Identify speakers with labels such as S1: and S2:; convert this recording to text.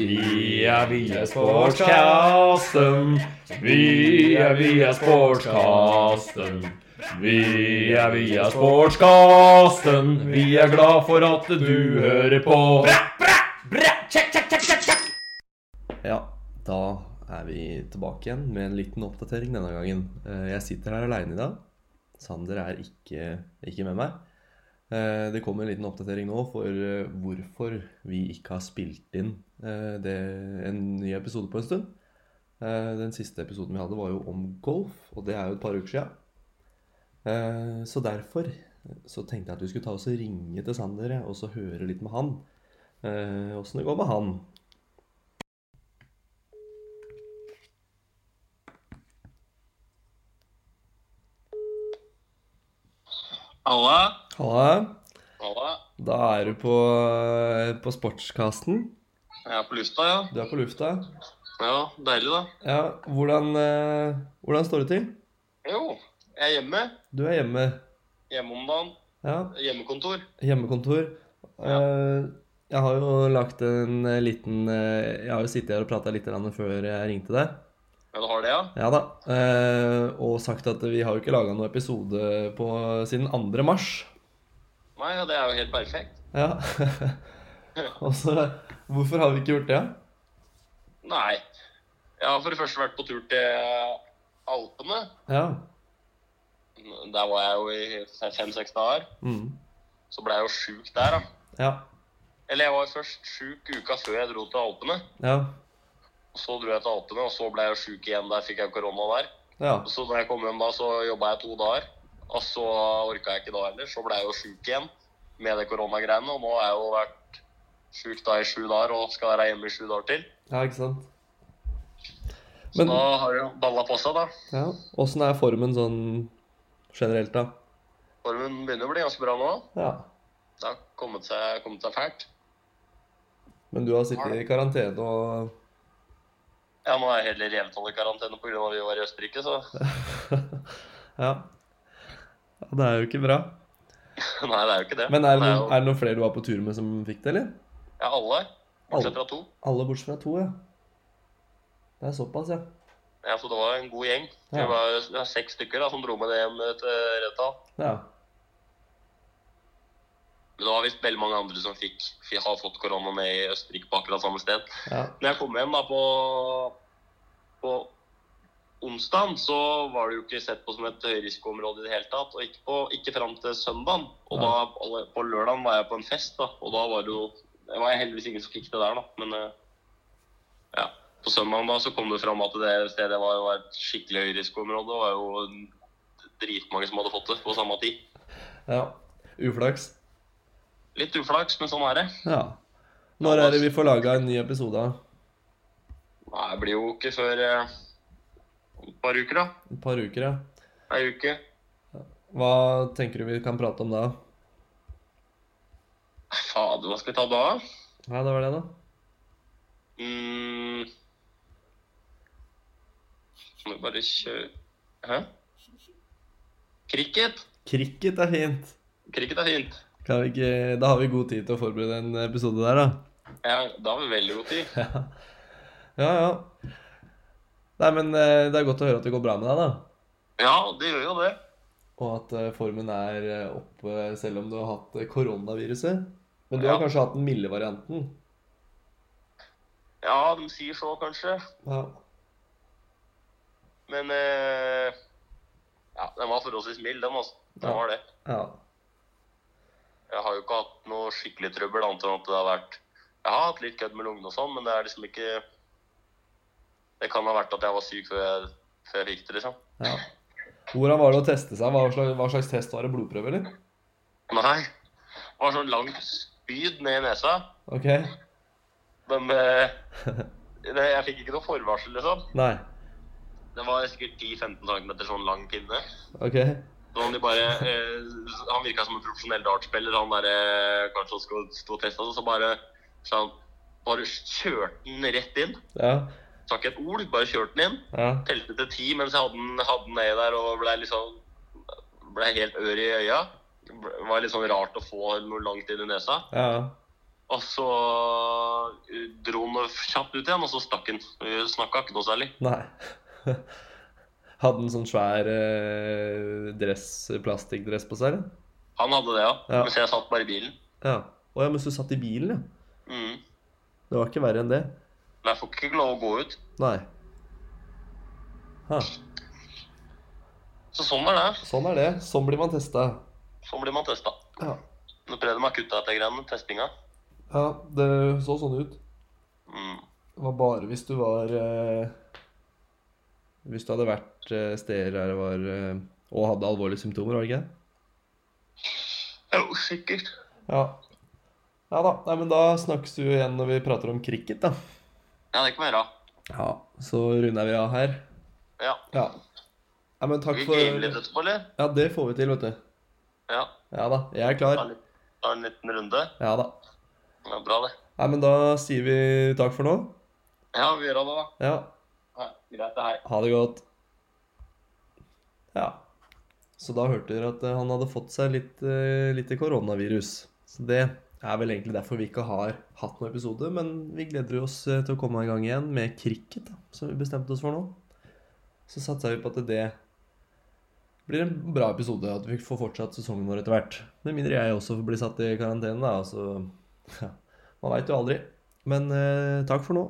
S1: Vi er via sportskasten. Vi er via sportskasten. Vi er via sportskasten. Vi er glad for at du hører på.
S2: Ja, da er vi tilbake igjen med en liten oppdatering denne gangen. Eh, Jeg sitter her alene i dag. Sander er ikke, ikke med meg. Eh, Det kommer en liten oppdatering nå for eh, hvorfor vi ikke har spilt inn eh, det, en ny episode på en stund. Eh, Den siste episoden vi hadde, var jo om golf, og det er jo et par uker siden. Eh, Så derfor så tenkte jeg at vi skulle ta oss og ringe til Sander og så høre litt med han. Eh, Åssen det går med han.
S3: Halla.
S2: Halla.
S3: Halla.
S2: Da er du på, eh, på sportskasten.
S3: Jeg er på lufta, ja.
S2: Du er på lufta.
S3: Ja, Deilig, da.
S2: Ja, hvordan, eh, hvordan står det til?
S3: Jo, jeg er hjemme.
S2: Du er hjemme.
S3: Hjemme om dagen.
S2: Ja,
S3: Hjemmekontor.
S2: hjemmekontor. Eh, Jeg har jo lagt en eh, liten eh, Jeg har jo sittet her og prata litt grann før jeg ringte deg.
S3: Ja, du har det, ja?
S2: Ja da. eh, Og sagt at vi har jo ikke laga noen episode på, siden 2. mars.
S3: Nei, ja, det er jo helt perfekt.
S2: Ja. Og så Hvorfor har vi ikke gjort det?
S3: Nei. Jeg har for det første vært på tur til Alpene.
S2: Ja.
S3: Der var jeg jo i fem-seks dager.
S2: Mm.
S3: Så ble jeg jo sjuk der, da.
S2: Ja.
S3: Eller jeg var først sjuk uka før jeg dro til Alpene.
S2: Ja.
S3: Så dro jeg til Alpene, og så ble jeg jo sjuk igjen. Der fikk jeg korona der.
S2: Ja.
S3: Så da jeg kom hjem da, så jobba jeg to dager. Og så orka jeg ikke da heller. Så ble jeg jo sjuk igjen med det koronagreiene. Og nå har jeg jo vært sjuk da i sju dager og skal være hjemme i sju dager til.
S2: ja ikke sant?
S3: Så da har jo balla på seg, da.
S2: Ja, Åssen er formen sånn generelt, da?
S3: Formen begynner å bli ganske bra nå.
S2: Ja.
S3: Det har kommet seg, kommet seg fælt.
S2: Men du har sittet i karantene og
S3: Ja, nå er jeg heller jevntallig i karantene pga. vi var i Østerrike, så
S2: ja. ja. Det er jo ikke bra.
S3: Nei, det er jo ikke det.
S2: Men er det,
S3: jo-
S2: noen, er det noen flere du var på tur med som fikk det, eller?
S3: Ja, alle. Bortsett fra to.
S2: Alle bortsett fra to, ja. Det er såpass, ja.
S3: Ja, så det var en god gjeng. Vi
S2: Ja.
S3: var det var seks stykker da, som dro med det hjem til Reta.
S2: Ja.
S3: Men det var visst veldig mange andre som fikk, fi- har fått korona med i Østerrike på akkurat samme sted.
S2: ja.
S3: Når jeg kom hjem da på, på onsdag, så var det jo ikke sett på som et høyrisikoområde i det hele tatt. Og ikke, på, ikke fram til søndagen. Og
S2: Ja.
S3: da, alle- på lørdagen var jeg på en fest, da. Og da var det jo Det var heldigvis ingen som fikk det der, da. Men eh, ja. På søndagen da så kom det fram at det stedet var, jo et skikkelig høyrisikoområde. Og det var jo dritmange som hadde fått det på samme tid.
S2: ja. Uflaks.
S3: Litt uflaks, men sånn er det.
S2: Ja. Når er det vi får laga en ny episode? da?
S3: Nei, det blir jo ikke før eh, et par uker, da.
S2: Et par uker, ja.
S3: Ei uke.
S2: Hva tenker du vi kan prate om da?
S3: Fader, hva skal vi ta da?
S2: Ja, det var det, da.
S3: Mm. Må vi bare kjøre Hæ? Cricket?
S2: Cricket er fint.
S3: Cricket er fint.
S2: Kan vi ikke, da har vi god tid til å forberede en episode der, da.
S3: Ja, da har vi veldig god tid.
S2: Ja, ja. ja. Nei, men eh, det er godt å høre at det går bra med deg, da.
S3: Ja, det gjør jo det.
S2: Og at eh, formen er eh, oppe selv om du har hatt eh, koronaviruset. Men du har
S3: Ja.
S2: kanskje hatt den milde varianten?
S3: Ja, de sier så, kanskje.
S2: Ja.
S3: Men eh, Ja, den var forholdsvis mild, den, altså. Den
S2: Ja.
S3: var det.
S2: ja.
S3: Jeg har jo ikke hatt noe skikkelig trøbbel, annet enn at det har vært Jeg har hatt litt kødd med lungene og sånn, men det er liksom ikke Det kan ha vært at jeg var syk før jeg, før jeg fikk det, liksom.
S2: ja. Hvordan var det å teste seg? Hva slags, hva slags test var det? Blodprøve, eller?
S3: Nei. Det var sånn langt spyd ned i nesa.
S2: OK.
S3: Men eh, det, jeg fikk ikke noe forvarsel, liksom.
S2: Nei.
S3: Det var sikkert 10-15 cm sånn lang pinne.
S2: OK.
S3: Sånn de bare, eh, han virka som en profesjonell dartspiller. Han der, eh, kanskje han skulle stå og teste, så bare, så han, bare kjørte den rett inn.
S2: Ja.
S3: Sa ikke et ord, bare kjørte den inn.
S2: Ja.
S3: telte til ti mens jeg hadde den, hadde den nedi der og ble liksom Ble helt ør i øya. Det var litt sånn rart å få noe langt inn i nesa.
S2: Ja.
S3: Og så eh, dro han kjapt ut igjen, og så stakk han. Vi snakka ikke noe særlig.
S2: Nei. Hadde en sånn svær eh, dress, plastikkdress på seg, eller?
S3: Han hadde det, ja.
S2: Ja.
S3: Mens jeg satt bare i bilen.
S2: Ja. Å ja, mens du satt i bilen, ja.
S3: Mm.
S2: Det var ikke verre enn det.
S3: Men jeg får ikke lov å gå ut.
S2: Nei. Ha.
S3: Så sånn er det.
S2: Sånn er det. Sånn blir man testa.
S3: Sånn blir man testa.
S2: Ja.
S3: Nå prøvde meg å kutte dette greiene, testinga.
S2: ja, det så sånn ut.
S3: Mm.
S2: Det var bare hvis du var eh, Hvis du hadde vært eh, steder der det var eh, Og hadde alvorlige symptomer, var det ikke det?
S3: Jo, sikkert.
S2: Ja. Ja da. Nei, men da snakkes du igjen når vi prater om cricket, da.
S3: Ja, det kan vi gjøre.
S2: Ja. Så runder vi av her.
S3: Ja.
S2: Ja. Nei, men
S3: Skal
S2: takk
S3: vi game
S2: for
S3: litt etterpå, eller?
S2: Ja, det får vi til, vet du.
S3: Ja.
S2: Ja da. Jeg er klar.
S3: Ta litt- ta en liten runde.
S2: Ja da.
S3: Ja, bra, det.
S2: Nei, men da sier vi takk for nå.
S3: Ja, vi gjør det, da.
S2: Ja.
S3: Ja, greit, det her.
S2: Ha det godt. Ja. Så da hørte dere at eh, han hadde fått seg litt, eh, litt koronavirus. Så det er vel egentlig derfor vi ikke har hatt noen episode, men vi gleder oss eh, til å komme i gang igjen med cricket, da, som vi bestemte oss for nå. Så satser vi på at det blir en bra episode, at vi får fortsatt sesongen vår etter hvert. Med mindre jeg også blir satt i karantene, da. Så ja, man veit jo aldri. Men eh, takk for nå.